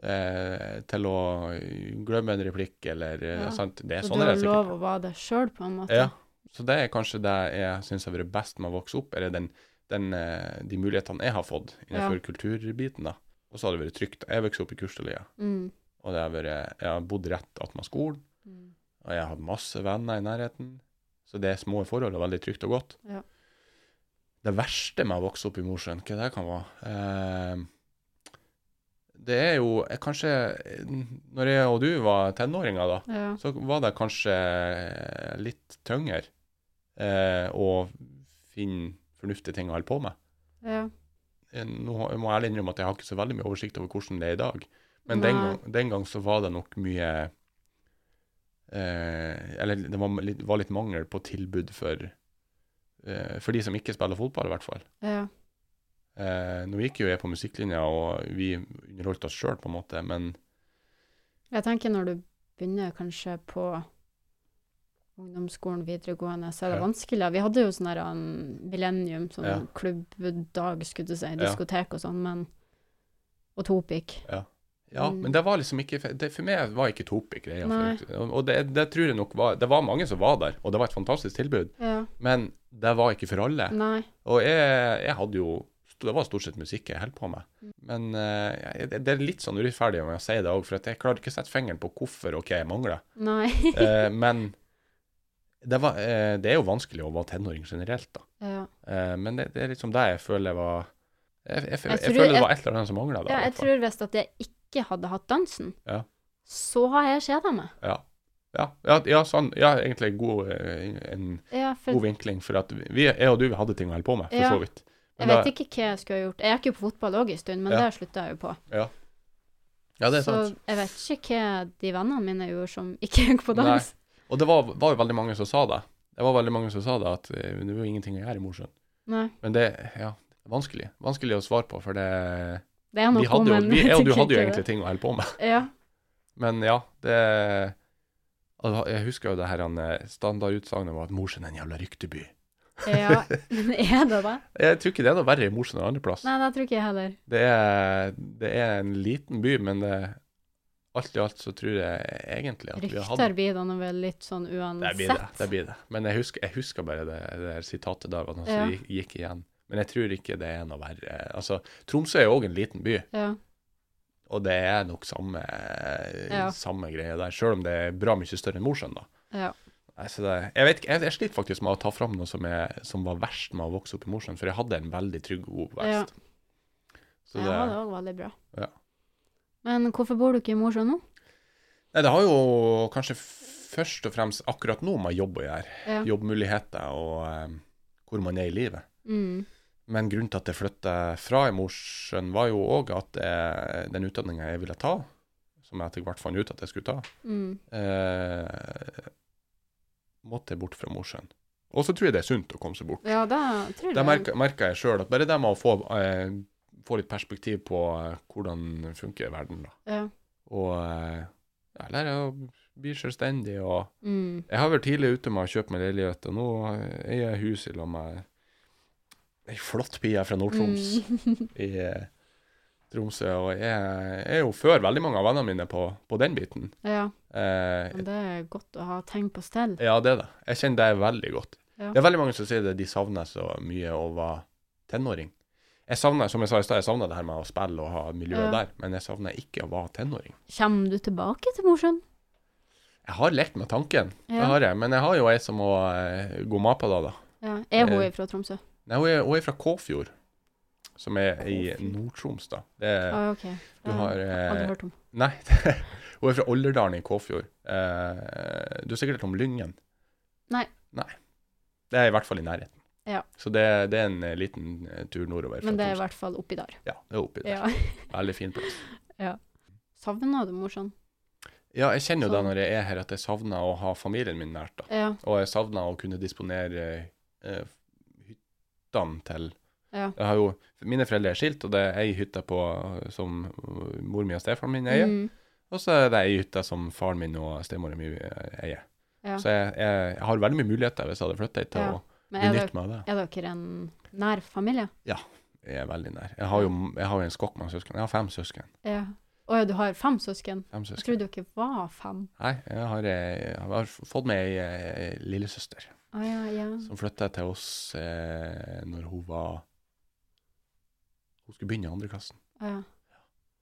S2: eh, til å eh, glemme en replikk, eller eh,
S1: Ja.
S2: sant? Det er
S1: Så
S2: sånn
S1: du
S2: det
S1: har
S2: er sikkert.
S1: lov å være deg sjøl, på en måte?
S2: Ja. Så det er kanskje det jeg syns har vært best med å vokse opp, eller den, den, eh, de mulighetene jeg har fått innenfor kulturbiten. da. Og så har det vært trygt. Jeg vokste opp i Kustalia,
S1: Mm.
S2: og det har vært, jeg har bodd rett attmed skolen,
S1: Mm.
S2: og jeg har hatt masse venner i nærheten. Så det er små forhold og veldig trygt og godt.
S1: Ja.
S2: Det verste med å vokse opp i Mosjøen, hva det kan være? Eh, det er jo eh, kanskje eh, Når jeg og du var tenåringer, da,
S1: Ja.
S2: så var det kanskje litt tyngre eh, å finne fornuftige ting å holde på med.
S1: ja.
S2: Eh, Nå har- jeg må ærlig innrømme at jeg har ikke så veldig mye oversikt over hvordan det er i dag, men den
S1: Nei.
S2: gang, den gang så var det nok mye eh, Eller det var litt, var litt mangel på tilbud for, eh, for de som ikke spiller fotball, i hvert fall.
S1: Ja.
S2: Eh, nå gikk jo jeg på musikklinja, og vi underholdt oss sjøl, på en måte, men
S1: Jeg tenker når du begynner kanskje på ungdomsskolen, videregående, så er det
S2: Ja.
S1: vanskelig. Vi hadde jo sånn her um, millennium, sånn
S2: Ja.
S1: klubbdag, skulle du si, diskotek og sånn, men Og Topic.
S2: Ja,
S1: Mm.
S2: men det var liksom ikke det, For meg var ikke Topic greia.
S1: Nei.
S2: for- Og og det, det tror jeg nok var Det var mange som var der, og det var et fantastisk tilbud,
S1: Ja.
S2: men det var ikke for alle.
S1: Nei.
S2: Og jeg, jeg hadde jo Det var stort sett musikk jeg holdt på med.
S1: Mm.
S2: Men eh, jeg- det, det er litt sånn urettferdig om jeg sier det òg, for at jeg klarer ikke å sette fingeren på hvorfor og hva jeg mangler.
S1: Nei.
S2: Eh, men det, var, eh, det er jo vanskelig å være tenåring generelt, da.
S1: ja.
S2: Eh, men det, det er liksom det jeg føler var Jeg, jeg, jeg,
S1: Jeg tror
S2: føler det
S1: jeg-
S2: var et eller annet som mangla.
S1: Ja, jeg tror hvis at jeg ikke hadde hatt dansen,
S2: Ja.
S1: så har jeg kjeda meg.
S2: Ja. Ja, ja, ja, sånn, ja egentlig god, eh, en
S1: Ja, for
S2: god vinkling. For at vi, jeg og du vi hadde ting å holde på med, for
S1: Ja.
S2: så vidt.
S1: jeg vet ikke hva jeg skulle ha gjort. Jeg gikk jo på fotball òg en stund, men
S2: Ja.
S1: det slutta jeg jo på.
S2: Ja, det er
S1: så
S2: sant.
S1: jeg vet ikke hva de vennene mine gjorde som ikke gikk på dans.
S2: Og det var, var jo veldig mange som sa det. Det var veldig mange som sa det, at eh, det var jo ingenting å gjøre i Mosjøen.
S1: Nei.
S2: Men det, ja, Det er vanskelig. Vanskelig å svare på, for det
S1: Det er noe
S2: vi hadde jo,
S1: men
S2: vi, Jeg og du
S1: tenker
S2: hadde jo
S1: ikke
S2: egentlig ting å holde på med.
S1: det. Ja.
S2: Men ja, det Altså, Jeg husker jo det her han, eh, standardutsagnet var at Mosjøen er en jævla rykteby.
S1: ja. Men er det det?
S2: Jeg tror ikke det er noe verre i Mosjøen enn andre plass.
S1: Nei, det tror ikke jeg heller.
S2: Det er, det er en liten by, men det, alt i alt så tror jeg egentlig at vi har hatt
S1: Rykter blir da nå vel litt sånn uansett.
S2: det blir det, det blir det. Men jeg husker, jeg husker bare det, det der sitatet der, hva som
S1: Ja.
S2: gikk, gikk igjen. Men jeg tror ikke det er noe verre. Altså, Tromsø er jo òg en liten by,
S1: Ja.
S2: og det er nok samme, eh,
S1: Ja.
S2: samme greie der, sjøl om det er bra mye større enn Mosjøen, da.
S1: ja.
S2: Nei, så det, jeg vet ikke, jeg, jeg sliter faktisk med å ta fram noe som, er, som var verst med å vokse opp i Mosjøen, for jeg hadde en veldig trygg og god
S1: Ja.
S2: oppvekst. Så
S1: ja,
S2: det,
S1: det var veldig bra.
S2: Ja.
S1: Men hvorfor bor du ikke i Mosjøen nå?
S2: nei, det har jo kanskje først og fremst akkurat nå med jobb å gjøre.
S1: Ja.
S2: Jobbmuligheter og eh, hvor man er i livet.
S1: Mm.
S2: Men grunnen til at jeg flytta fra i Mosjøen, var jo òg at eh, den utdanninga jeg ville ta, som jeg etter hvert fant ut at jeg skulle ta,
S1: Mm.
S2: eh, måtte jeg bort fra Mosjøen. Og så tror jeg det er sunt å komme seg bort.
S1: Ja, det tror
S2: Da
S1: jeg.
S2: merka merka jeg sjøl at bare det med å få, eh, få litt perspektiv på eh, hvordan funker verden, da.
S1: Ja.
S2: Og eh, jeg lærer å bli selvstendig og
S1: Mm.
S2: jeg har vært tidlig ute med å kjøpe meg leilighet, og nå eier jeg hus i lag med ei flott pia fra Nord-Troms
S1: Mm.
S2: i eh, Tromsø. Og jeg er jo før veldig mange av vennene mine på, på den biten.
S1: ja,
S2: Eh,
S1: men det er godt å ha ting på stell.
S2: ja, det er det. Jeg kjenner det veldig godt.
S1: Ja.
S2: Det er veldig mange som sier det, de savner så mye å være tenåring. Jeg savner, som jeg sa i stad, jeg savner det her med å spille og ha miljøet
S1: Ja.
S2: der, men jeg savner ikke å være tenåring.
S1: Kommer du tilbake til Mosjøen?
S2: Jeg har lekt med tanken, det
S1: Ja.
S2: har jeg, men jeg har jo ei som må eh, gå med på det, da.
S1: ja. Er hun
S2: Eh,
S1: fra Tromsø?
S2: Nei, hun er, hun er fra Kåfjord, som er i
S1: Kåfjord.
S2: Nord-Troms, da. Det er,
S1: Ah, ok.
S2: du har
S1: Aldri
S2: eh,
S1: hørt om.
S2: Nei, hun er fra Olderdalen i Kåfjord. Eh, du har sikkert hørt om Lyngen?
S1: Nei.
S2: Nei. Det er i hvert fall i nærheten.
S1: Ja.
S2: Så det, det er en eh, liten eh, tur nordover. fra
S1: Men det er i
S2: Tromsø.
S1: hvert fall oppi der.
S2: Ja, det er oppi der.
S1: Ja.
S2: Veldig fin plass.
S1: Savner du Mosjøen?
S2: Ja, jeg kjenner jo det
S1: Sånn.
S2: når jeg er her, at jeg savner å ha familien min nært, da.
S1: Ja.
S2: Og jeg savner å kunne disponere eh, hyttene til
S1: Ja.
S2: Jeg har jo, Mine foreldre er skilt, og det er ei hytte på, som eh, mor mi og stefaren min eier.
S1: Mm.
S2: Og så er det ei hytte som faren min og stemoren min eh, eier.
S1: Ja.
S2: Så jeg, jeg, jeg har veldig mye muligheter hvis jeg hadde flytta hit, til
S1: Ja.
S2: å
S1: Men er,
S2: benytte
S1: dere,
S2: meg av det.
S1: er dere en nær familie?
S2: Jeg er veldig nær. Jeg har jo, jeg har jo en skokk med søsken. Jeg har fem søsken.
S1: Ja. Å ja, du har fem søsken?
S2: Fem
S1: Jeg
S2: søsken.
S1: trodde dere var fem.
S2: Nei, jeg har, eh, jeg har fått meg ei eh, lillesøster.
S1: Å ja, ja.
S2: som flytta til oss eh, når hun var Hun skulle begynne i andre klassen.
S1: Å, ja.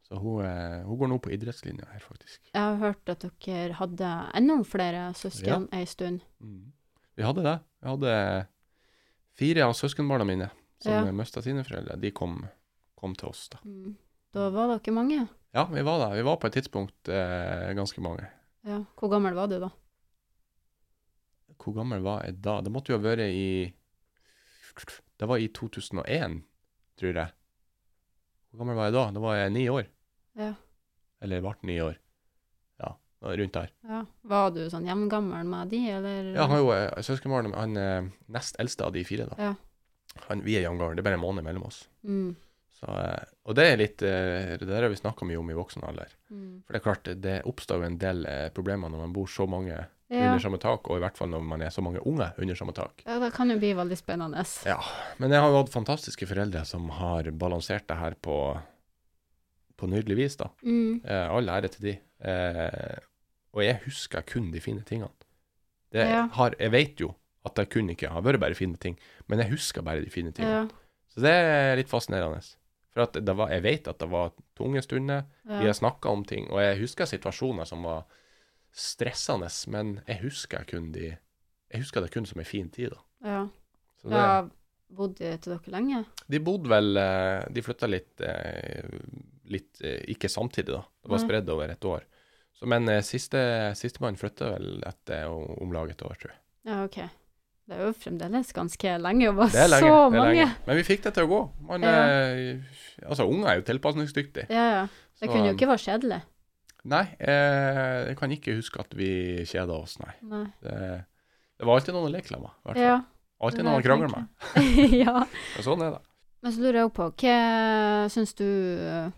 S2: Så hun, eh, hun går nå på idrettslinja her, faktisk.
S1: Jeg har hørt at dere hadde enda flere søsken ei stund.
S2: Vi hadde det. Vi hadde fire av søskenbarna mine som
S1: Ja.
S2: ja. mista sine foreldre. De kom, kom til oss, da.
S1: Mm. Da var dere mange.
S2: Ja, vi var der. Vi var på et tidspunkt eh, ganske mange.
S1: Ja. Hvor gammel var du da?
S2: Hvor gammel var jeg da? Det måtte jo ha vært i Det var i 2001, tror jeg. Hvor gammel var jeg da? Da var jeg ni år.
S1: Ja.
S2: Eller ble ni år. Ja, det var rundt der.
S1: Ja. Var du sånn jevngammel med de, eller?
S2: Ja, han har jo eh, søskenbarn, han eh, nest eldste av de fire, da.
S1: Ja.
S2: Han, vi er jamgamle, det er bare en måned mellom oss.
S1: Mm.
S2: Så, eh, og det er litt eh, Det der har vi snakka mye om i voksen alder.
S1: Mm.
S2: For det er klart, det oppstår jo en del eh, problemer når man bor så mange
S1: Ja.
S2: under sånn. samme tak, og i hvert fall når man er så mange unge under samme tak.
S1: ja, det kan jo bli veldig spennende.
S2: Men jeg har jo hatt fantastiske foreldre som har balansert det her på, på nydelig vis, da.
S1: Mm.
S2: Eh, all ære til de. Eh, og jeg husker kun de fine tingene. Det
S1: Ja.
S2: har, jeg vet jo at det kun ikke har vært bare fine ting, men jeg husker bare de fine
S1: Ja.
S2: tingene. Så det er litt fascinerende. For at det var, jeg vet at det var tunge stunder, vi
S1: Ja.
S2: har snakka om ting, og jeg husker situasjoner som var stressende, men jeg husker kun de Jeg husker det kun som ei en fin tid, da.
S1: ja.
S2: Så det,
S1: ja. Bodde til dere lenge?
S2: De bodde vel eh, De flytta litt, eh, litt eh, Ikke samtidig, da. Det var
S1: Nei.
S2: spredd over et år. Så, men eh, siste sistemann flytta vel etter o- om lag et år, tror jeg.
S1: Ja, ok. Det er jo fremdeles ganske lenge å være
S2: Det er lenge.
S1: så
S2: det
S1: mange.
S2: er lenge. Men vi fikk det til å gå. Man,
S1: Ja.
S2: eh, altså, unger er jo tilpasningsdyktige.
S1: Ja, ja. Det
S2: så, um,
S1: kunne jo ikke være kjedelig.
S2: Nei, eh, jeg kan ikke huske at vi kjeda oss, nei.
S1: Nei.
S2: Det, det var alltid noen å leke med. i hvert fall.
S1: Ja.
S2: Alltid noen å krangle med.
S1: med. ja.
S2: Men Sånn er det.
S1: Men så lurer jeg også på, hva syns du eh,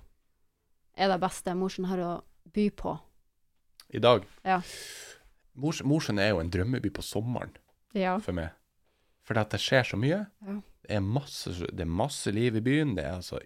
S1: er det beste Mosjøen har å by på?
S2: I dag.
S1: Ja.
S2: Mors- Mosjøen er jo en drømmeby på sommeren
S1: Ja.
S2: for meg. Fordi at det skjer så mye.
S1: Ja.
S2: Det, er masse, det er masse liv i byen. Det er altså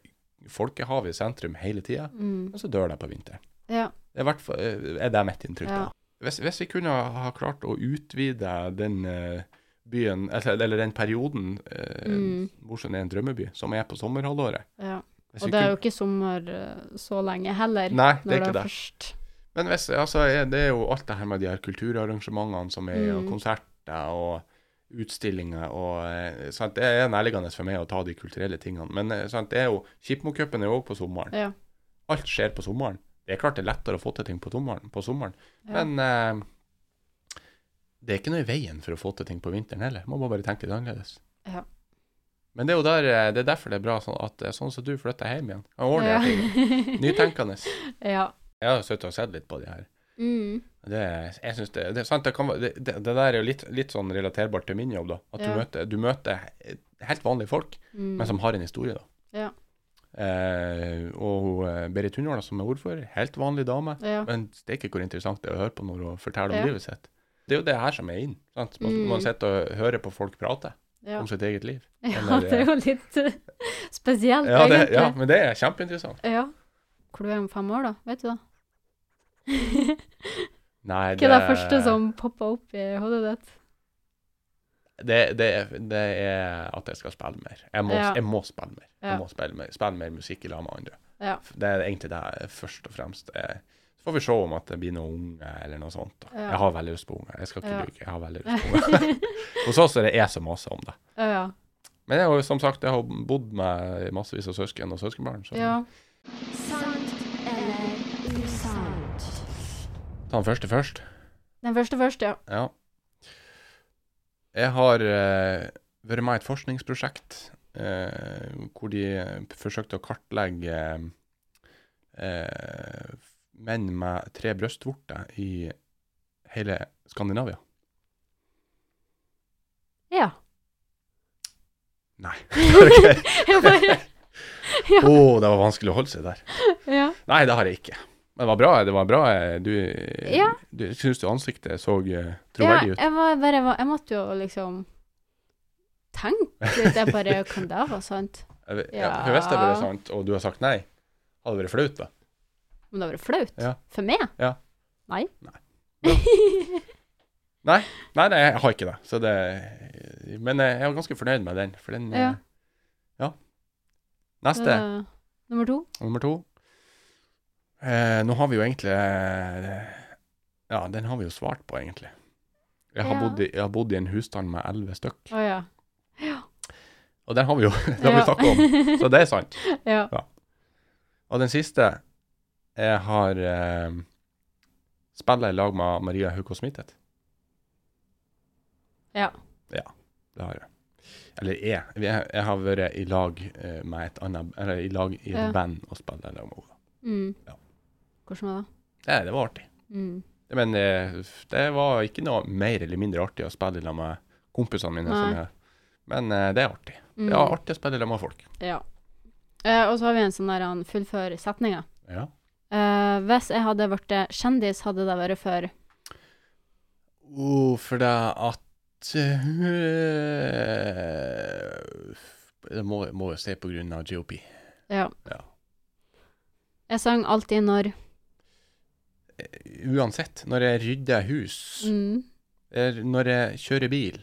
S2: folkehavet i sentrum hele tida.
S1: Mm.
S2: Og så dør det på vinteren.
S1: Ja.
S2: Det er, hvert fall- eh, er det mitt inntrykk.
S1: Ja.
S2: da. Hvis, hvis vi kunne ha klart å utvide den eh, byen, eller, eller den perioden eh,
S1: Mm.
S2: Mosjøen er en drømmeby, som er på sommerhalvåret
S1: ja.
S2: Hvis
S1: Og
S2: vi
S1: det er jo
S2: kunne-
S1: ikke sommer eh, så lenge heller.
S2: Nei, det
S1: når
S2: er ikke det.
S1: først
S2: Men hvis, altså, er- det er jo alt det her med de her kulturarrangementene som er, og
S1: Mm.
S2: konserter og utstillinger og eh, sant? Det er nærliggende for meg å ta de kulturelle tingene. Men eh, sant? det er jo Skipmocupen er jo òg på sommeren.
S1: Ja.
S2: Alt skjer på sommeren. Det er klart det er lettere å få til ting på sommeren, på sommeren.
S1: Ja.
S2: men eh, det er ikke noe i veien for å få til ting på vinteren heller. Man må bare tenke litt annerledes.
S1: Ja.
S2: Men det er jo der, eh, det er derfor det er bra sånn at eh, sånn som du flytter hjem igjen. Ordentlig. ting. Nytenkende.
S1: ja.
S2: Jeg har sittet og sett litt på de her.
S1: Mm.
S2: Det, jeg synes det, det, er sant, det, kan, være- det, det, det der er jo litt, litt sånn relaterbart til min jobb, da. At
S1: Ja.
S2: du, møter, du møter helt vanlige folk,
S1: Mm.
S2: men som har en historie, da.
S1: Ja.
S2: Eh, og eh, Berit Hundvåla, som er ordfører, helt vanlig dame.
S1: ja.
S2: Men det er ikke hvor interessant det er å høre på når hun forteller om
S1: Ja.
S2: livet sitt. Det er jo det her som er inn. Sant? Man,
S1: Mm.
S2: man sitter og hører på folk prate
S1: Ja.
S2: om sitt eget liv.
S1: ja,
S2: Eller,
S1: det er jo litt eh, spesielt,
S2: Ja, det, ja,
S1: egentlig.
S2: men det er kjempeinteressant.
S1: Ja. Hvor du er om fem år, da? Vet du det?
S2: Nei,
S1: Hva er det første som popper opp i hodet ditt?
S2: det, det, er, det er at jeg skal spille mer. Jeg må,
S1: Ja.
S2: jeg må spille mer.
S1: Ja.
S2: Jeg må spille mer, spille mer musikk i lag med andre.
S1: Ja.
S2: F- Det er egentlig det jeg først og fremst er. Så får vi se om at det blir noen unge eller noe sånt. Da.
S1: Ja.
S2: Jeg har veldig lyst på unge. Jeg skal ikke
S1: Ja.
S2: lyve. Jeg har veldig lyst på unge. Hos oss er det jeg som maser om det.
S1: Ja, ja.
S2: Men jeg har jo som sagt jeg har bodd med massevis av søsken og søskenbarn. Så
S1: ja.
S3: Sant eller usant?
S2: ta den første først.
S1: Den første først, ja.
S2: Ja. Jeg har eh, vært med i et forskningsprosjekt eh, hvor de forsøkte å kartlegge eh, eh, menn med tre brystvorter i hele Skandinavia.
S1: Ja.
S2: Nei.
S1: Jeg bare,
S2: Å, det var vanskelig å holde seg der.
S1: ja.
S2: Nei, det har jeg ikke. Men det var bra. det var bra. eh, Du,
S1: Ja.
S2: du jeg synes du ansiktet så eh,
S1: ja
S2: troverdig ut.
S1: jeg, var bare, jeg måtte jo liksom tenke litt. Jeg bare Kan det være sant?
S2: Jeg vet-
S1: Ja.
S2: For hvis det hadde vært sant, og du har sagt nei, hadde det vært flaut, da.
S1: Om det hadde vært flaut?
S2: Ja.
S1: For meg?
S2: Ja.
S1: Nei.
S2: Nei. Nei, nei, jeg har ikke det. Så det men eh, jeg er ganske fornøyd med den, for den eh,
S1: Ja.
S2: ja. Neste,
S1: Eh, nummer to.
S2: nummer to. Eh, nå har vi jo egentlig eh, Ja, den har vi jo svart på, egentlig. Jeg har,
S1: Ja.
S2: bodd, i, jeg har bodd i en husstand med elleve stykk,
S1: Å ja.
S2: og den har vi jo den har vi snakket om, så det er sant.
S1: ja.
S2: Og den siste Jeg har eh, spilla i lag med Maria Hauko Smithet.
S1: Ja.
S2: Ja, det har jeg. Eller jeg. Jeg, jeg har vært i lag eh, med et annet Eller i lag i et
S1: Ja.
S2: band og spilla i lag med henne.
S1: Mm.
S2: Ja.
S1: Hvordan var det?
S2: Det, det var artig.
S1: Mm.
S2: Men eh, det var ikke noe mer eller mindre artig å spille i lag med kompisene mine.
S1: Nei.
S2: Som jeg, men eh, det er artig.
S1: Mm.
S2: Det er artig å spille i lag med folk.
S1: Ja. Eh, og så har vi en sånn der han fullfører setninga.
S2: Ja.
S1: Eh, hvis jeg hadde blitt kjendis, hadde det vært for
S2: Oh, for det at eh, Det må, må jo se på grunn av GOP.
S1: Ja.
S2: Ja.
S1: Jeg sang alltid når
S2: Uansett, når jeg rydder hus,
S1: mm.
S2: er- når jeg kjører bil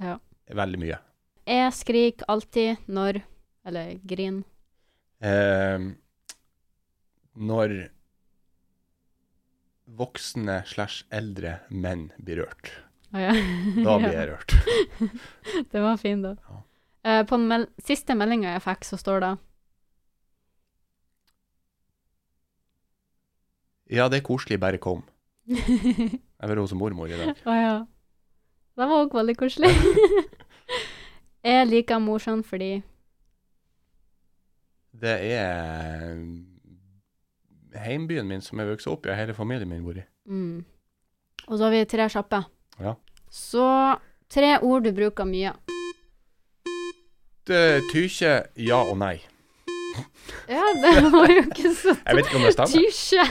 S1: Ja.
S2: Veldig mye.
S1: Jeg skrik alltid når Eller grin.
S2: Eh, når voksne slash eldre menn blir rørt.
S1: Å ja.
S2: Da blir
S1: Ja,
S2: jeg rørt.
S1: Det var fin, da.
S2: Ja.
S1: Eh, på den mel siste meldinga jeg fikk, så står det
S2: Ja, det er koselig, bare kom. Jeg var hos mormor i dag.
S1: Å ja. Det var òg veldig koselig. jeg liker morsan fordi
S2: Det er eh, heimbyen min som jeg vokste opp i, og hele familien min bor i.
S1: mm. Og så har vi tre kjappe.
S2: Ja.
S1: Så tre ord du bruker mye.
S2: eh, Tykje, ja og nei.
S1: Ja, det var jo ikke så
S2: Jeg vet ikke om det stemmer.
S1: Tysje.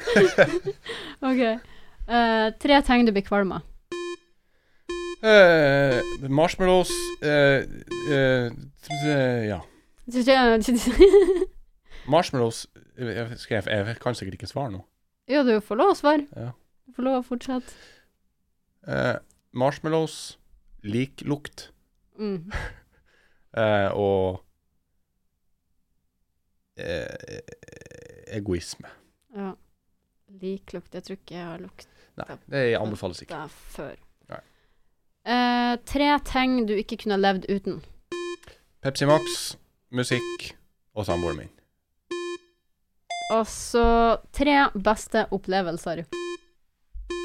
S1: OK. Eh, tre ting du blir kvalm av.
S2: Eh, marshmallows eh, eh, eh, Ja.
S1: Ja,
S2: Marshmallows jeg, jeg, skal jeg, jeg kan sikkert ikke svare nå.
S1: du får lov å svare.
S2: Ja.
S1: Du får lov å fortsette.
S2: Eh, marshmallows, lik lukt
S1: Mm.
S2: eh, og eh, egoisme.
S1: Ja. Lik lukt. Jeg tror ikke jeg har lukta
S2: Nei, det anbefales ikke.
S1: før.
S2: Nei.
S1: Eh, tre ting du ikke kunne ha levd uten.
S2: Pepsi Max, musikk og samboeren min.
S1: Og så tre beste opplevelser.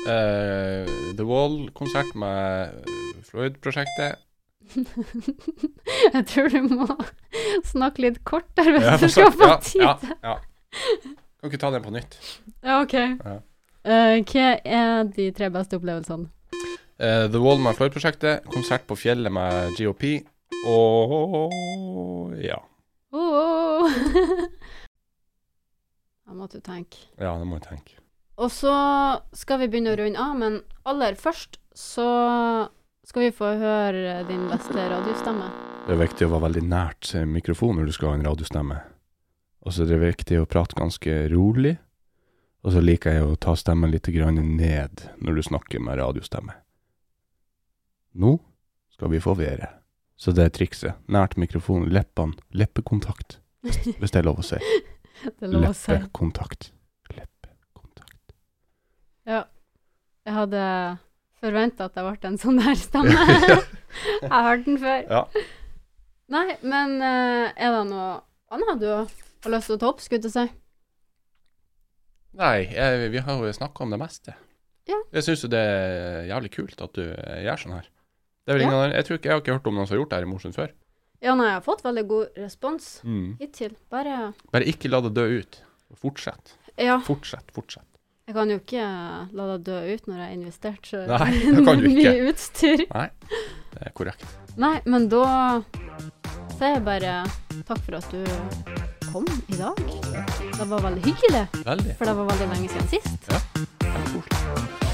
S2: Eh, The Wall-konsert med eh, Floyd-prosjektet.
S1: jeg tror du må snakke litt kortere hvis
S2: Ja,
S1: du skal få
S2: ja,
S1: tid.
S2: ja, ja. Kan ikke ta den på nytt.
S1: Ja, OK.
S2: Ja.
S1: Eh, hva er de tre beste opplevelsene?
S2: Eh, The Wall med Floyd-prosjektet, konsert på fjellet med GOP, og ja.
S1: Oh. Jeg måtte jo tenke.
S2: Ja, det må jeg tenke.
S1: Og så skal vi begynne å runde av, men aller først så skal vi få høre din beste radiostemme.
S2: Det er viktig å være veldig nært mikrofonen når du skal ha en radiostemme. Og så er det viktig å prate ganske rolig. Og så liker jeg å ta stemmen litt grann ned når du snakker med radiostemme. Nå skal vi få været. Så det er trikset. Nært mikrofonen, leppene, leppekontakt, hvis det er lov å si.
S1: Det lå og sa
S2: Leppekontakt. Leppekontakt.
S1: Jeg hadde forventa at jeg ble en sånn der stemme.
S2: Ja.
S1: jeg har hørt den før.
S2: Ja.
S1: Nei, men eh, er det noe annet du har lyst til å ta opp, skulle jeg til å si?
S2: Nei, jeg, vi har jo snakka om det meste.
S1: Ja.
S2: Jeg syns jo det er jævlig kult at du eh, gjør sånn her. Det er vel
S1: Ja.
S2: ingen, andre- jeg, tror ikke, jeg har ikke hørt om noen som har gjort det her i Mosjøen før.
S1: Ja, nei, jeg har fått veldig god respons
S2: Mm.
S1: hittil. Bare
S2: Bare ikke la det dø ut. Fortsett.
S1: Ja,
S2: Fortsett, fortsett.
S1: jeg kan jo ikke eh, la deg dø ut når jeg har investert så
S2: Nei, det kan du ikke.
S1: mye utstyr.
S2: Det er korrekt.
S1: Nei, men da sier jeg bare takk for at du kom i dag. Det var veldig hyggelig,
S2: Veldig.
S1: for det var veldig lenge siden sist.
S2: Veldig koselig.